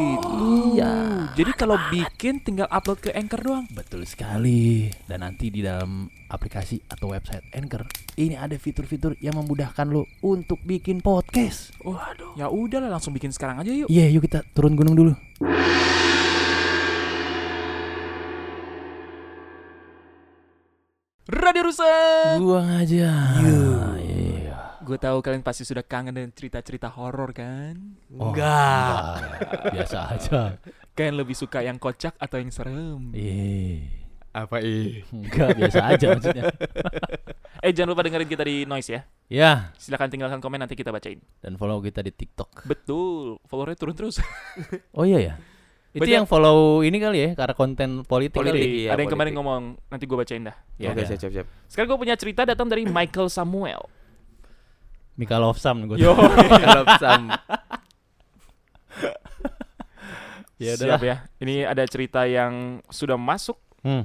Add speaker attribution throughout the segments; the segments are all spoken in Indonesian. Speaker 1: gitu.
Speaker 2: Iya.
Speaker 1: Jadi kalau bikin tinggal upload ke Anchor doang.
Speaker 2: Betul sekali. Dan nanti di dalam aplikasi atau website Anchor, ini ada fitur-fitur yang memudahkan lo untuk bikin podcast.
Speaker 1: Waduh. Ya udahlah langsung bikin sekarang aja yuk.
Speaker 2: Iya, yuk kita turun gunung dulu.
Speaker 1: Radio Rusak.
Speaker 2: Buang aja. Iya.
Speaker 1: Gue tahu kalian pasti sudah kangen dengan cerita-cerita horor kan?
Speaker 2: Oh,
Speaker 3: Enggak.
Speaker 2: enggak. Biasa aja.
Speaker 1: Kalian lebih suka yang kocak atau yang serem?
Speaker 2: Iya.
Speaker 3: Apa ih?
Speaker 2: Enggak biasa aja maksudnya.
Speaker 1: Eh jangan lupa dengerin kita di Noise ya.
Speaker 2: Ya,
Speaker 1: Silahkan tinggalkan komen nanti kita bacain.
Speaker 2: dan follow kita di TikTok.
Speaker 1: Betul. Followernya turun terus.
Speaker 2: Oh iya ya. Itu yang
Speaker 1: Banyak-
Speaker 2: follow ini kali ya, karena konten politik.
Speaker 3: Politik.
Speaker 2: kali.
Speaker 3: Iya,
Speaker 1: Ada yang kemarin
Speaker 3: politik.
Speaker 1: ngomong nanti gue bacain dah.
Speaker 2: Ya,
Speaker 3: Oke,
Speaker 2: ada.
Speaker 3: siap siap siap.
Speaker 1: Sekarang gue punya cerita datang dari Michael Samuel.
Speaker 2: Mika Love Sam gue.
Speaker 1: Yo.
Speaker 3: Kalau sam
Speaker 2: Ya
Speaker 1: Siap
Speaker 2: udah.
Speaker 1: ya. Ini ada cerita yang sudah masuk.
Speaker 2: Hmm.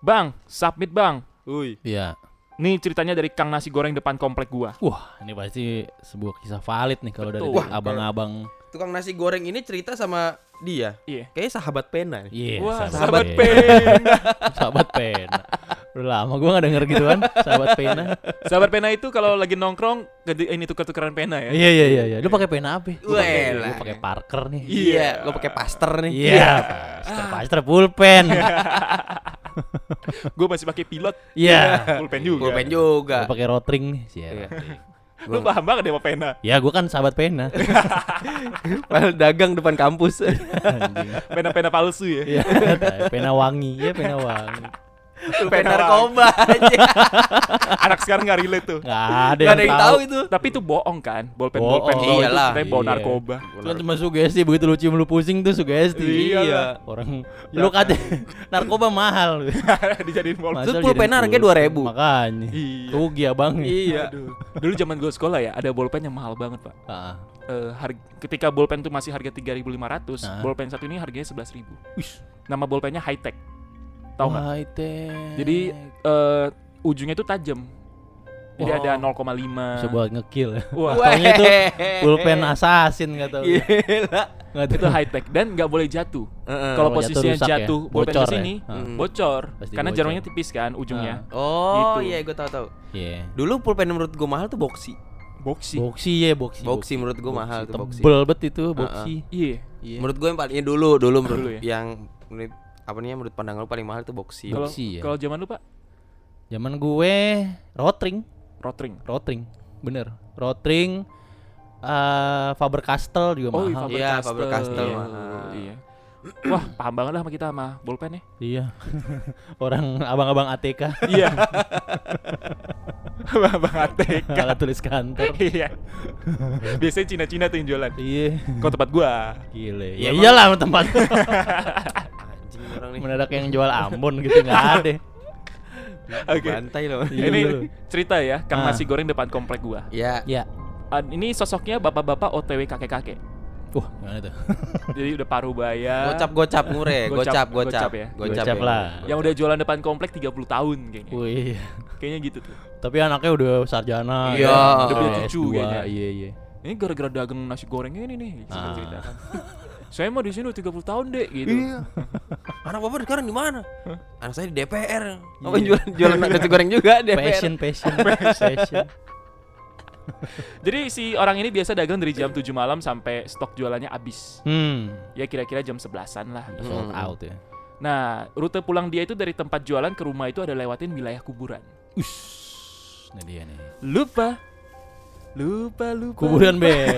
Speaker 1: Bang, submit bang.
Speaker 3: Uy.
Speaker 2: Iya.
Speaker 1: Nih ceritanya dari Kang Nasi Goreng depan komplek gua.
Speaker 2: Wah, ini pasti sebuah kisah valid nih kalau dari
Speaker 1: Betul.
Speaker 2: Wah, abang-abang.
Speaker 3: Tukang nasi goreng ini cerita sama dia.
Speaker 1: Iya.
Speaker 3: Kayaknya sahabat pena. nih.
Speaker 2: Iya,
Speaker 1: Wah, sahabat
Speaker 2: sahabat pena.
Speaker 1: pena.
Speaker 2: sahabat pena. Udah lama gue gak denger gituan, sahabat nah. pena.
Speaker 1: sahabat pena itu kalau lagi nongkrong gede- ini tukar-tukaran pena ya.
Speaker 2: Iya, iya, iya, iya. Lu pakai pena apa? Lu pakai-
Speaker 3: Welah.
Speaker 2: Lu pakai Parker nih.
Speaker 3: Iya, lo pakai paster nih.
Speaker 2: Iya, Paster, Paster pulpen.
Speaker 3: Iya.
Speaker 1: Gua masih pakai pilot.
Speaker 2: Iya.
Speaker 1: Pulpen juga.
Speaker 3: Pulpen
Speaker 2: Lu
Speaker 3: juga.
Speaker 2: pakai rotring nih, siap.
Speaker 3: Iya.
Speaker 1: Lu paham banget deh sama pena.
Speaker 2: Ya, gue kan sahabat pena.
Speaker 3: Padahal dagang depan kampus.
Speaker 2: Anjing.
Speaker 1: Pena-pena palsu ya.
Speaker 2: Iya, tai. pena wangi ya, pena wangi.
Speaker 3: Pena narkoba aja.
Speaker 1: Anak sekarang gak relate tuh.
Speaker 2: Gak ada
Speaker 3: Gak ada yang tahu itu.
Speaker 1: Tapi itu bohong kan? Bolpen-bolpen
Speaker 2: Bohong.
Speaker 1: bawah itu
Speaker 3: Iyalah.
Speaker 1: sebenarnya bawa
Speaker 2: Iya.
Speaker 1: narkoba.
Speaker 2: Cuma cuma sugesti begitu lu cium lu pusing tuh sugesti.
Speaker 1: Iya.
Speaker 2: Orang
Speaker 3: Ya.
Speaker 2: lu kata narkoba mahal.
Speaker 1: Dijadiin bolpen.
Speaker 2: Masa
Speaker 3: Terus pulpen
Speaker 2: jadiin
Speaker 3: harganya
Speaker 2: pul-
Speaker 3: 2.000.
Speaker 2: Makanya.
Speaker 1: Iya.
Speaker 2: Rugi abang.
Speaker 3: Iya.
Speaker 1: Aduh. Dulu zaman gue sekolah ya, ada bolpen yang mahal banget, Pak.
Speaker 2: Heeh.
Speaker 1: Eh, harg- ketika bolpen tuh masih harga 3.500,
Speaker 2: Nah.
Speaker 1: bolpen satu ini harganya 11.000. Nama bolpennya high tech. Tahu nggak?
Speaker 2: Wah, tech.
Speaker 1: Jadi eh, ujungnya itu tajam. Jadi
Speaker 2: Wah.
Speaker 1: ada 0,5.
Speaker 2: bisa buat ngekill.
Speaker 1: Wah,
Speaker 2: Taunya itu
Speaker 3: Weh.
Speaker 2: pulpen assassin enggak tahu.
Speaker 3: Gila.
Speaker 2: Enggak
Speaker 1: Iya. itu high tech dan nggak boleh jatuh.
Speaker 3: Heeh.
Speaker 1: Kalau
Speaker 2: kalau jatuh
Speaker 1: posisinya
Speaker 2: rusak ya?
Speaker 1: jatuh, bolpen
Speaker 2: Bocor
Speaker 1: ke
Speaker 2: ya?
Speaker 1: sini,
Speaker 2: Ah.
Speaker 1: bocor.
Speaker 2: Pasti
Speaker 1: Karena
Speaker 2: bocor.
Speaker 1: jarumnya tipis kan ujungnya.
Speaker 3: Oh
Speaker 1: Gitu.
Speaker 3: iya gue tahu tahu.
Speaker 2: Iya.
Speaker 3: Dulu pulpen menurut gue mahal tuh boxy.
Speaker 1: Boxy.
Speaker 2: Boxy ya, boxy.
Speaker 3: Boxy menurut gue mahal tuh boxy.
Speaker 2: Tebel bet itu boxy.
Speaker 1: Iya.
Speaker 2: Iya.
Speaker 3: Menurut gue yang paling ya dulu dulu menurut
Speaker 1: Dulu ya?
Speaker 3: yang menurut apa nih menurut pandangan lu paling mahal tuh boxy.
Speaker 1: Kalau
Speaker 2: Boxy ya.
Speaker 1: kalau zaman lu, Pak,
Speaker 2: Zaman gue rotring,
Speaker 1: rotring.
Speaker 2: rotring. Bener. Rotring eh Faber Castell juga
Speaker 1: Oh,
Speaker 2: mahal.
Speaker 3: Iya, Faber Castell
Speaker 1: Iya.
Speaker 3: mahal.
Speaker 1: Iya. Wah, paham banget lah sama kita sama bolpen ya.
Speaker 2: Iya. Orang abang-abang ATK,
Speaker 1: Iya. Bang ATK.
Speaker 2: alat tulis kantor.
Speaker 1: Iya. Biasanya Cina-Cina tuh yang jualan.
Speaker 2: Iya.
Speaker 1: Kok tempat gua?
Speaker 2: Gile.
Speaker 1: Iya,
Speaker 3: Ya,
Speaker 2: Ya
Speaker 3: emang-
Speaker 2: iyalah tempat
Speaker 3: Anjing orang nih.
Speaker 2: mendadak yang jual Ambon gitu nggak ada.
Speaker 1: Oke.
Speaker 3: Bantai loh.
Speaker 2: Iya,
Speaker 1: Ini
Speaker 2: lu.
Speaker 1: cerita ya, Kang
Speaker 2: Ah.
Speaker 1: nasi goreng depan komplek gua.
Speaker 3: Ya.
Speaker 2: Ya.
Speaker 1: Ah, ini sosoknya bapak-bapak OTW kakek-kakek.
Speaker 2: Wah, gimana tuh?
Speaker 1: Jadi udah paruh baya.
Speaker 3: Gocap gocap ngure,
Speaker 1: Gocap,
Speaker 3: gocap gocap.
Speaker 1: gocap ya.
Speaker 2: Gocap
Speaker 3: ya.
Speaker 2: lah.
Speaker 1: Yang udah jualan depan komplek 30 tahun kayaknya.
Speaker 2: Wih.
Speaker 1: Kayaknya gitu tuh.
Speaker 2: Tapi anaknya udah sarjana.
Speaker 3: Iya.
Speaker 2: kan?
Speaker 3: Udah punya
Speaker 2: S2,
Speaker 1: cucu kayaknya.
Speaker 2: Iya, iya.
Speaker 1: Ini gara-gara dagang nasi goreng ini nih,
Speaker 2: Ah.
Speaker 1: cerita kan. Saya mah di sini udah 30 tahun, Dek, gitu.
Speaker 3: Anak bapak sekarang di mana? Anak saya di DPR. Apa jualan jualan nasi goreng juga DPR.
Speaker 2: Passion, passion, passion.
Speaker 1: Jadi si orang ini biasa dagang dari jam 7 malam sampai stok jualannya habis.
Speaker 2: Hmm.
Speaker 1: Ya kira-kira jam 11-an lah.
Speaker 2: udah Sold
Speaker 3: Hmm.
Speaker 2: out ya.
Speaker 1: Nah, rute pulang dia itu dari tempat jualan ke rumah itu ada lewatin wilayah kuburan.
Speaker 2: Us. Ini dia nih.
Speaker 1: Lupa. Lupa, lupa.
Speaker 2: Kuburan band.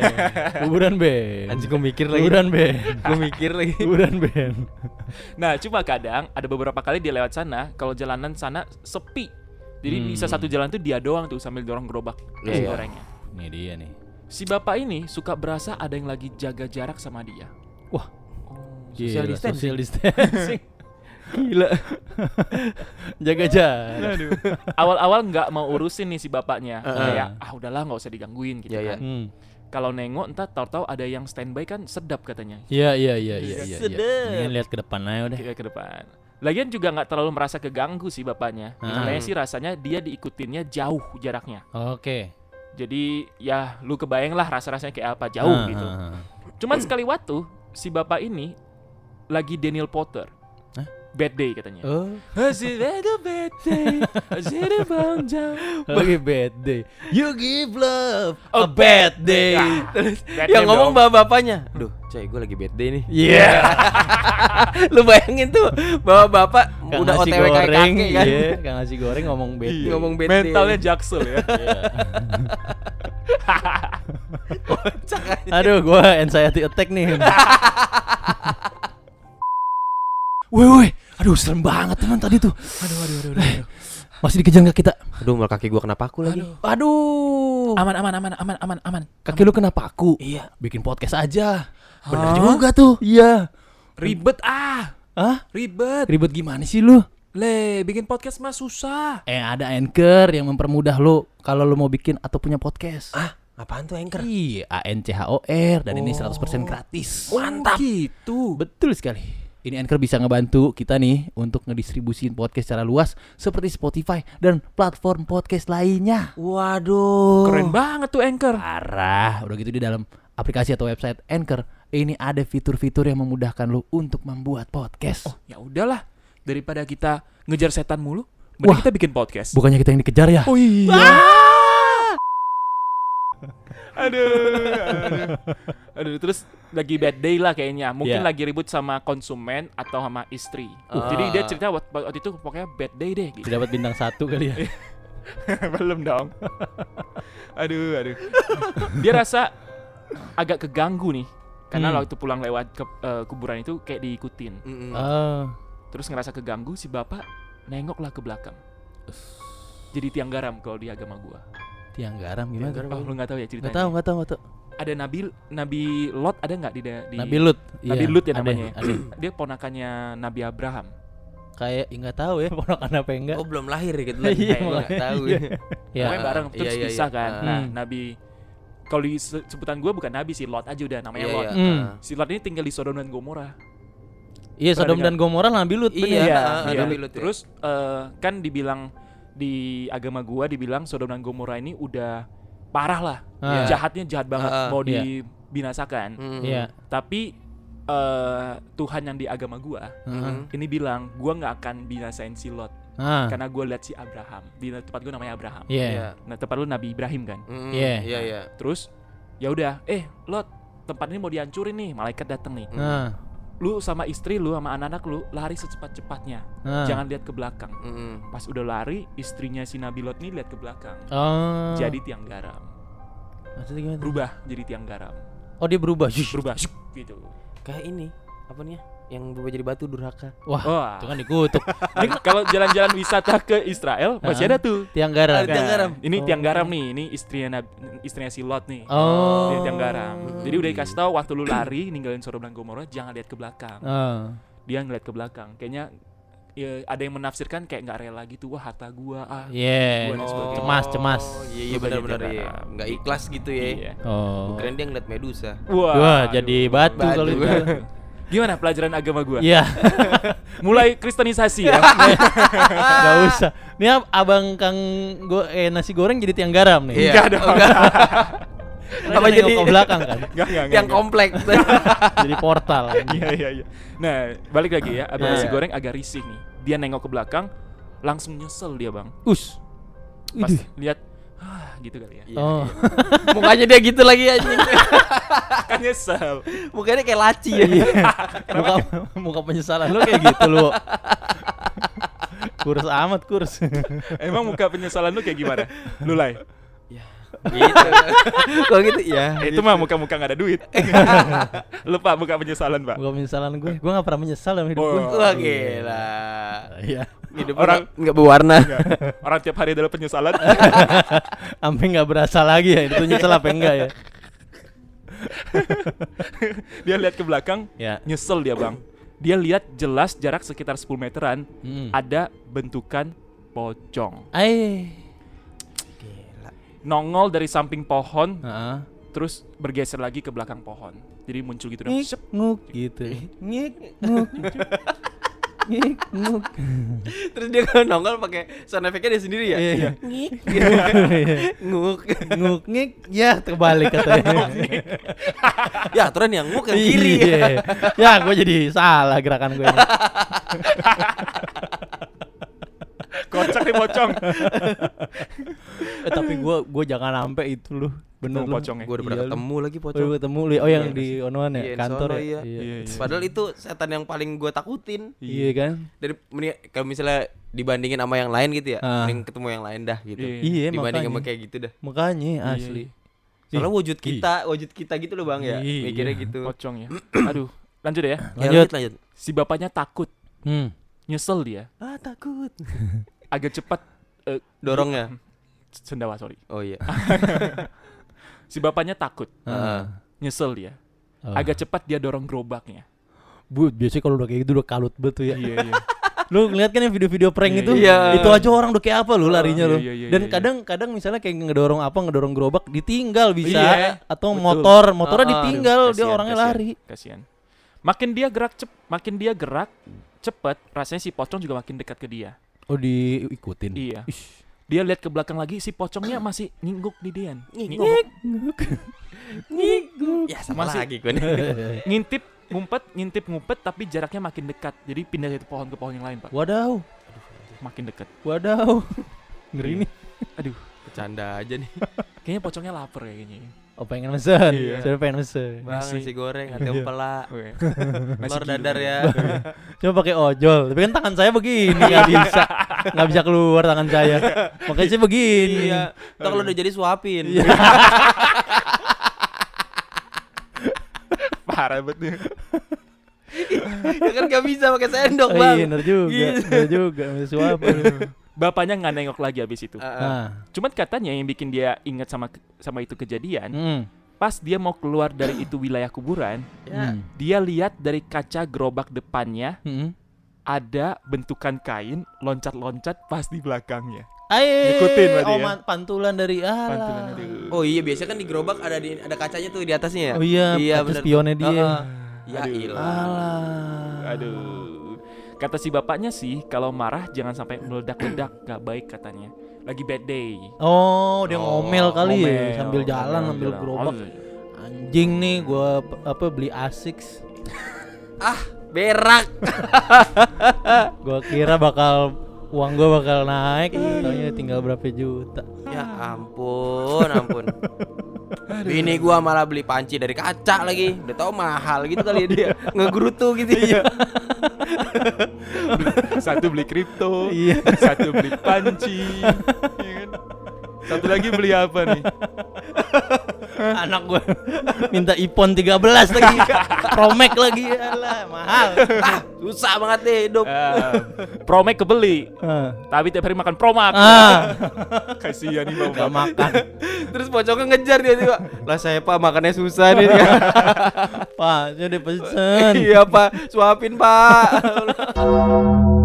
Speaker 2: Kuburan band.
Speaker 3: Anjing gue mikir lagi.
Speaker 2: Kuburan band.
Speaker 3: Gue mikir lagi.
Speaker 2: Kuburan band.
Speaker 1: Nah, cuma kadang ada beberapa kali dia lewat sana, kalau jalanan sana sepi. Jadi
Speaker 2: Hmm.
Speaker 1: bisa satu jalan tuh dia doang tuh sambil dorong gerobak
Speaker 3: Iya,
Speaker 1: nasi
Speaker 3: iya.
Speaker 1: gorengnya.
Speaker 2: Ini dia nih.
Speaker 1: Si bapak ini suka berasa ada yang lagi jaga jarak sama dia.
Speaker 2: Wah.
Speaker 1: Oh,
Speaker 2: Gila,
Speaker 1: social distancing.
Speaker 2: social distancing. Gila. Jaga jarak.
Speaker 1: Aduh. Awal-awal nggak mau urusin nih si bapaknya.
Speaker 3: Heeh.
Speaker 1: Kayak ah udahlah nggak usah digangguin gitu
Speaker 3: Iya, iya.
Speaker 1: kan.
Speaker 2: Hmm.
Speaker 1: Kalau nengok entar tahu-tahu ada yang standby kan sedap katanya.
Speaker 2: Iya iya iya iya iya.
Speaker 3: Sedap.
Speaker 2: Mendingan lihat ke depan aja udah.
Speaker 1: Kita ke depan. Lagian juga nggak terlalu merasa keganggu sih bapaknya.
Speaker 2: Ah.
Speaker 1: Makanya sih rasanya dia diikutinnya jauh jaraknya.
Speaker 2: Oke.
Speaker 1: Jadi ya lu kebayang lah rasa-rasanya kayak apa jauh
Speaker 2: Ah,
Speaker 1: gitu.
Speaker 2: ah, ah.
Speaker 1: Cuman sekali waktu si bapak ini lagi Daniel Potter.
Speaker 2: Hah?
Speaker 1: Bad day katanya.
Speaker 2: Oh,
Speaker 1: Masih ada bad day, masih ada bang jauh.
Speaker 2: lagi bad day. You give love a
Speaker 1: Oh,
Speaker 2: bad day.
Speaker 1: Ah, bad
Speaker 3: Yang
Speaker 1: day
Speaker 3: ngomong
Speaker 1: dong.
Speaker 3: bapak bapaknya. Duh, coy, gue lagi bad day nih.
Speaker 2: Iya.
Speaker 3: Lu bayangin tuh, bapak-bapak
Speaker 2: Kang
Speaker 3: udah
Speaker 2: nasi
Speaker 3: OTW kayak
Speaker 2: goreng,
Speaker 3: kakek kan. Iya.
Speaker 2: iya. Kang nasi Iya. goreng ngomong bad day.
Speaker 3: Ngomong bad day.
Speaker 1: mentalnya jaksel ya.
Speaker 3: Kocak aja.
Speaker 2: Aduh, gua anxiety attack nih. Woi, woi, aduh serem banget teman tadi tuh. Aduh, aduh, aduh, Masih dikejar nggak kita?
Speaker 3: Aduh, malah kaki gue kenapa aku lagi?
Speaker 2: Aduh,
Speaker 1: Aman aman aman aman aman aman.
Speaker 2: kaki lu kenapa aku? Iya, Ah. bikin podcast aja. Bener juga tuh. Iya.
Speaker 1: Ribet ah,
Speaker 2: Hah?
Speaker 1: ribet.
Speaker 2: Ribet gimana sih lu?
Speaker 1: Le, bikin podcast mah susah.
Speaker 2: Eh, ada anchor yang mempermudah lu kalau lu mau bikin atau punya podcast.
Speaker 3: Ah, apaan tuh anchor?
Speaker 2: Iya, A N C H O R dan ini 100%
Speaker 3: Oh,
Speaker 2: gratis.
Speaker 1: Mantap. Gitu.
Speaker 2: Betul sekali. Ini Anchor bisa ngebantu kita nih untuk ngedistribusin podcast secara luas seperti Spotify dan platform podcast lainnya.
Speaker 3: Waduh.
Speaker 1: Keren banget tuh anchor.
Speaker 2: Parah, udah gitu di dalam aplikasi atau website Anchor, ini ada fitur-fitur yang memudahkan lo untuk membuat podcast.
Speaker 1: Oh, ya udahlah. Daripada kita ngejar setan mulu, mending
Speaker 2: Wah.
Speaker 1: kita bikin podcast.
Speaker 2: Bukannya kita yang dikejar ya?
Speaker 1: Oh iya. aduh, aduh. Aduh, terus lagi bad day lah kayaknya. Mungkin
Speaker 2: Iya.
Speaker 1: lagi ribut sama konsumen atau sama istri.
Speaker 3: Ah.
Speaker 1: Jadi dia cerita wak- waktu itu pokoknya bad day deh gitu.
Speaker 2: dapat bintang satu kali ya.
Speaker 1: Belum dong. aduh, aduh. Dia rasa agak keganggu nih. Karena
Speaker 2: Hmm.
Speaker 1: waktu pulang lewat ke eh, kuburan itu kayak diikutin.
Speaker 3: Mm-mm.
Speaker 2: Oh.
Speaker 1: Terus ngerasa keganggu si bapak nengoklah ke belakang. Jadi tiang garam kalau di agama gua.
Speaker 2: Tiang garam gimana?
Speaker 3: Tiang garam.
Speaker 1: Oh, lu nggak tahu ya ceritanya?
Speaker 2: Gak tau, gak tau, gak tau.
Speaker 1: Ada Nabi Nabi Lot ada nggak di, da- di
Speaker 2: Nabi Lut.
Speaker 1: Nabi
Speaker 2: Iya,
Speaker 1: Lut ya
Speaker 2: ada,
Speaker 1: namanya.
Speaker 2: ada.
Speaker 1: Dia ponakannya Nabi Abraham.
Speaker 2: Kayak ya nggak tahu ya ponakan apa yang enggak.
Speaker 3: Oh, belum lahir ya gitu.
Speaker 2: Iya,
Speaker 3: Kayak gua nggak
Speaker 2: makanya.
Speaker 3: tahu.
Speaker 2: Iya.
Speaker 1: Namanya bareng
Speaker 3: Ah,
Speaker 1: terus
Speaker 3: iya, iya,
Speaker 1: pisah
Speaker 3: iya.
Speaker 1: kan.
Speaker 3: Ah.
Speaker 1: Nah,
Speaker 2: Hmm.
Speaker 1: Nabi kalau di se- sebutan gua bukan Nabi sih Lot aja udah namanya
Speaker 3: Iya,
Speaker 1: Lot.
Speaker 3: iya.
Speaker 2: Hmm.
Speaker 3: Ah.
Speaker 1: Si Lot ini tinggal di Sodom dan Gomora.
Speaker 2: Iya, Sodom dan Gomora Nabi Lut.
Speaker 3: Iya,
Speaker 2: bener.
Speaker 3: ah, ah,
Speaker 1: Iya.
Speaker 3: Nabi Lut ya.
Speaker 1: Terus eh, kan dibilang di agama gua dibilang Sodom dan Gomora ini udah parah lah.
Speaker 2: Ah.
Speaker 1: Jahatnya jahat banget
Speaker 3: Ah, ah.
Speaker 1: mau
Speaker 2: Iya.
Speaker 1: dibinasakan.
Speaker 3: Mm-mm.
Speaker 2: Iya.
Speaker 1: Tapi eh, Tuhan yang di agama gua
Speaker 2: Heeh.
Speaker 3: Mm-mm.
Speaker 1: ini bilang gua nggak akan binasain si Lot
Speaker 2: Ah.
Speaker 1: karena gua lihat si Abraham di tempat gua namanya Abraham.
Speaker 2: Iya.
Speaker 1: Nah tempat lu Nabi Ibrahim kan.
Speaker 3: Mm-mm.
Speaker 2: Iya.
Speaker 3: Iya, iya.
Speaker 1: Terus ya udah, eh Lot tempat ini mau dihancurin nih, malaikat datang nih.
Speaker 2: Nah.
Speaker 1: Lu sama istri lu sama anak-anak lu lari secepat-cepatnya,
Speaker 2: nah.
Speaker 1: jangan lihat ke belakang.
Speaker 3: Mm-mm.
Speaker 1: Pas udah lari, istrinya si Nabi Lot nih lihat ke belakang,
Speaker 2: Oh.
Speaker 1: jadi tiang garam,
Speaker 2: Maksudnya gimana?
Speaker 1: berubah jadi tiang garam,
Speaker 2: Oh dia berubah. Shush.
Speaker 1: berubah syuk, gitu.
Speaker 3: Kayak ini, apa nih ya? Yang berubah jadi batu durhaka.
Speaker 2: Wah,
Speaker 1: Wah,
Speaker 2: itu kan dikutuk.
Speaker 1: ini kalau jalan-jalan wisata ke Israel masih
Speaker 2: Ah.
Speaker 1: ada tuh. Nah,
Speaker 2: Tiang garam.
Speaker 3: Ada tiang garam.
Speaker 1: Ini
Speaker 2: Oh.
Speaker 1: tiang garam nih, ini istrinya Nab- istrinya si Lot nih.
Speaker 2: Oh.
Speaker 1: Ini Iya, tiang garam. Jadi udah dikasih tahu waktu lu lari ninggalin Sodom dan Gomora jangan lihat ke belakang.
Speaker 2: Ah.
Speaker 1: Dia ngeliat ke belakang. Kayaknya ya, ada yang menafsirkan kayak nggak rela gitu wah harta gua ah.
Speaker 2: Yeah.
Speaker 1: Gua dan sebagainya.
Speaker 2: Oh, Iya. Cemas, cemas.
Speaker 3: Iya, iya
Speaker 1: Berubah
Speaker 3: benar-benar
Speaker 1: jadi
Speaker 3: iya.
Speaker 1: darah.
Speaker 3: Enggak ikhlas gitu ya.
Speaker 1: Iya.
Speaker 2: Oh.
Speaker 3: Keren dia ngeliat medusa.
Speaker 1: Wah,
Speaker 2: Wah,
Speaker 1: aduh.
Speaker 2: jadi batu
Speaker 3: Batu.
Speaker 2: kalau itu.
Speaker 1: Gimana pelajaran agama gua?
Speaker 2: Iya,
Speaker 1: Mulai kristenisasi ya.
Speaker 2: nggak usah. Ini ab- abang Kang go eh, nasi goreng jadi tiang garam
Speaker 1: Iya.
Speaker 2: nih.
Speaker 3: Enggak dong.
Speaker 2: Karena dia nengok ke belakang kan?
Speaker 1: Enggak, enggak, enggak,
Speaker 3: Yang
Speaker 1: enggak.
Speaker 3: kompleks.
Speaker 2: jadi portal.
Speaker 1: Iya, iya, iya. Nah, balik lagi ya. Abang
Speaker 2: Iya.
Speaker 1: nasi goreng agak risih nih. Dia nengok ke belakang langsung nyesel dia, Bang.
Speaker 2: Us.
Speaker 1: Pas
Speaker 2: Widih.
Speaker 1: lihat ah, gitu kali ya.
Speaker 3: Iya,
Speaker 2: Oh.
Speaker 3: Mukanya dia gitu lagi anjing.
Speaker 1: Kan nyesel.
Speaker 3: Mukanya kayak laci ya.
Speaker 2: Iya. muka muka penyesalan lu kayak gitu lu. Kurus amat kurus.
Speaker 1: Emang muka penyesalan lu kayak gimana? Lu lay.
Speaker 3: gitu. Kalau gitu ya.
Speaker 1: Itu mah muka-muka nggak ada duit. Lupa muka penyesalan, Pak.
Speaker 2: Bukan penyesalan gue, gue gak pernah menyesal dalam hidup gue.
Speaker 1: Oh.
Speaker 3: Wah gila.
Speaker 2: Iya.
Speaker 3: Hidup
Speaker 1: Orang-
Speaker 3: orang enggak berwarna.
Speaker 1: Nggak. Orang tiap hari adalah penyesalan.
Speaker 2: Sampai nggak berasa lagi ya, itu nyesel apa enggak ya?
Speaker 1: dia lihat ke belakang,
Speaker 2: Ya.
Speaker 1: nyesel dia bang. Dia lihat jelas jarak sekitar 10 meteran
Speaker 2: Mm.
Speaker 3: Hmm.
Speaker 1: ada bentukan pocong.
Speaker 2: Ai.
Speaker 3: Gila.
Speaker 1: Nongol dari samping pohon,
Speaker 2: Heeh.
Speaker 1: terus bergeser lagi ke belakang pohon. Jadi muncul gitu dong.
Speaker 2: Ngik nguk gitu. Ngik nguk. Ngik nguk.
Speaker 3: Terus dia kalau nongol pakai sound effect-nya dia sendiri ya.
Speaker 2: Iya.
Speaker 3: Ngik.
Speaker 2: Iya.
Speaker 3: Nguk.
Speaker 2: Nguk ngik ya terbalik katanya.
Speaker 3: Ya, aturan yang nguk yang kiri.
Speaker 2: Iya. Ya, gue jadi salah gerakan gue.
Speaker 1: Kocak nih pocong.
Speaker 2: Eh, tapi gue gue jangan sampai itu lu. Bener
Speaker 1: Ketemu
Speaker 2: lu.
Speaker 1: pocongnya.
Speaker 3: Gua udah pernah
Speaker 2: Iya, lu.
Speaker 3: ketemu lagi
Speaker 2: Oh, lu
Speaker 3: pocong.
Speaker 2: ketemu lu. Oh, yang
Speaker 3: Iya,
Speaker 2: di Onoan ya,
Speaker 3: Iya, di
Speaker 2: kantor ya.
Speaker 3: sono, iya.
Speaker 2: Iya.
Speaker 1: Iya, iya.
Speaker 3: Padahal itu setan yang paling gue takutin.
Speaker 2: Iya kan?
Speaker 3: Dari mending- kalau misalnya dibandingin sama yang lain gitu ya,
Speaker 2: Ah.
Speaker 3: mending ketemu yang lain dah gitu.
Speaker 1: Iya.
Speaker 2: Iya,
Speaker 3: Dibandingin sama
Speaker 2: makanya.
Speaker 3: kayak gitu dah.
Speaker 2: Makanya asli.
Speaker 3: Soalnya wujud kita, wujud kita gitu loh Bang ya.
Speaker 2: Iya.
Speaker 3: Mikirnya gitu.
Speaker 1: Pocong ya. Aduh, lanjut
Speaker 3: Ya,
Speaker 1: ya.
Speaker 2: Lanjut.
Speaker 3: lanjut.
Speaker 1: Si bapaknya takut,
Speaker 2: Hmm.
Speaker 1: nyesel dia.
Speaker 3: Ah, takut.
Speaker 1: Agak cepat eh,
Speaker 3: Dorongnya.
Speaker 1: sendawa sorry.
Speaker 3: ya? Oh iya.
Speaker 1: Si bapaknya takut,
Speaker 3: Heeh.
Speaker 1: nyesel dia.
Speaker 2: Oh.
Speaker 1: Agak cepat dia dorong gerobaknya.
Speaker 2: Bu, biasanya kalau udah kayak gitu udah kalut banget tuh ya.
Speaker 1: Iya, iya.
Speaker 2: Lu ngeliat kan yang video-video prank
Speaker 1: Iya,
Speaker 2: itu?
Speaker 3: iya.
Speaker 2: Itu aja orang udah kayak apa lu larinya
Speaker 1: iya,
Speaker 2: lu.
Speaker 1: iya, iya,
Speaker 2: Dan
Speaker 1: iya.
Speaker 2: kadang-kadang misalnya kayak ngedorong apa, ngedorong gerobak ditinggal bisa
Speaker 1: Iya.
Speaker 2: atau
Speaker 1: Betul.
Speaker 2: motor, motornya
Speaker 3: Ah, ah.
Speaker 2: ditinggal, dia
Speaker 3: Kasihan,
Speaker 2: orangnya
Speaker 3: kasihan.
Speaker 2: lari.
Speaker 1: Kasihan. Makin dia gerak cep, makin dia gerak cepet, rasanya si pocong juga makin dekat ke dia.
Speaker 2: Oh, diikutin.
Speaker 1: Iya.
Speaker 2: Ish.
Speaker 1: Dia lihat ke belakang lagi si pocongnya masih ngingguk di Dian.
Speaker 3: Ngik.
Speaker 1: Nginguk.
Speaker 3: Ya sama
Speaker 1: Masih-
Speaker 3: lagi gue nih.
Speaker 1: Ngintip, ngumpet, ngintip, ngumpet tapi jaraknya makin dekat. Jadi pindah dari pohon ke pohon yang lain, Pak.
Speaker 2: Wadaw,
Speaker 1: Makin dekat.
Speaker 2: wadaw. Ngeri nih.
Speaker 1: Aduh,
Speaker 3: Bercanda aja nih.
Speaker 1: kayaknya pocongnya lapar ya kayaknya.
Speaker 2: Oh, pengen mesen.
Speaker 1: Iya.
Speaker 2: Saya pengen mesen.
Speaker 3: Bang,
Speaker 1: Masih.
Speaker 3: nasi goreng, ada empela.
Speaker 1: Oke.
Speaker 3: Telur dadar ya.
Speaker 2: Cuma pakai ojol, tapi kan tangan saya begini nggak bisa, nggak bisa keluar tangan saya. Makanya saya begini.
Speaker 3: Iya. Ntar kalau udah jadi suapin.
Speaker 2: Iya.
Speaker 1: Parah banget. nih.
Speaker 3: ya kan gak bisa pakai sendok,
Speaker 2: Oh, iya,
Speaker 3: Bang.
Speaker 2: bener juga,
Speaker 3: Gitu.
Speaker 2: bener juga, masih apa?
Speaker 1: Bapaknya nggak nengok lagi habis itu.
Speaker 3: Heeh.
Speaker 2: Nah,
Speaker 1: Cuman katanya yang bikin dia ingat sama sama itu kejadian,
Speaker 2: mm,
Speaker 1: pas dia mau keluar dari itu wilayah kuburan,
Speaker 3: Ya.
Speaker 2: mm,
Speaker 1: dia lihat dari kaca gerobak depannya
Speaker 2: mm.
Speaker 1: ada bentukan kain loncat-loncat pas di belakangnya.
Speaker 2: Aye,
Speaker 1: Ngikutin berarti ya.
Speaker 2: oman- pantulan dari Allah.
Speaker 1: Pantulannya tuh.
Speaker 3: Oh iya biasanya kan di gerobak ada di, ada kacanya tuh di atasnya ya.
Speaker 2: hmm. Oh iya,
Speaker 3: iya
Speaker 2: kaca
Speaker 3: bener.
Speaker 2: spionnya dia.
Speaker 3: Heeh. Ya
Speaker 1: Aduh.
Speaker 3: ilah.
Speaker 2: Allah.
Speaker 1: Aduh. Kata si bapaknya sih kalau marah jangan sampai meledak-ledak, gak baik katanya. Lagi bad day.
Speaker 2: Oh, dia
Speaker 3: Oh,
Speaker 2: ngomel kali ya,
Speaker 1: Ngomel,
Speaker 2: sambil jalan, sambil
Speaker 1: ngomel, Oh, iya. jalan.
Speaker 2: gerobak. Anjing nih, gua p- apa beli Asics.
Speaker 3: Ah, berak.
Speaker 2: Gua kira bakal uang gua bakal naik, taunya tinggal berapa juta.
Speaker 3: ya ampun, ampun. Bini gua malah beli panci dari kaca lagi. Udah tau mahal gitu kali ya dia. Ngegerutu gitu
Speaker 2: Iya.
Speaker 3: ya.
Speaker 1: Satu beli kripto,
Speaker 2: Iya.
Speaker 1: satu beli panci, iya kan? satu lagi beli apa nih?
Speaker 2: anak gue minta iPhone 13 lagi Promax lagi alah mahal
Speaker 3: ah, susah banget deh hidup.
Speaker 2: Eh,
Speaker 1: Ah, promek kebeli,
Speaker 2: ah
Speaker 1: tapi tiap hari makan promak.
Speaker 2: ah,
Speaker 1: Kasihan nih
Speaker 2: gak
Speaker 1: bapak.
Speaker 2: makan
Speaker 3: Terus pocongnya ngejar dia tiba. Lah saya Pak makannya susah nih. dia."
Speaker 2: pak saya udah pesen
Speaker 3: Iya Pak, suapin Pak.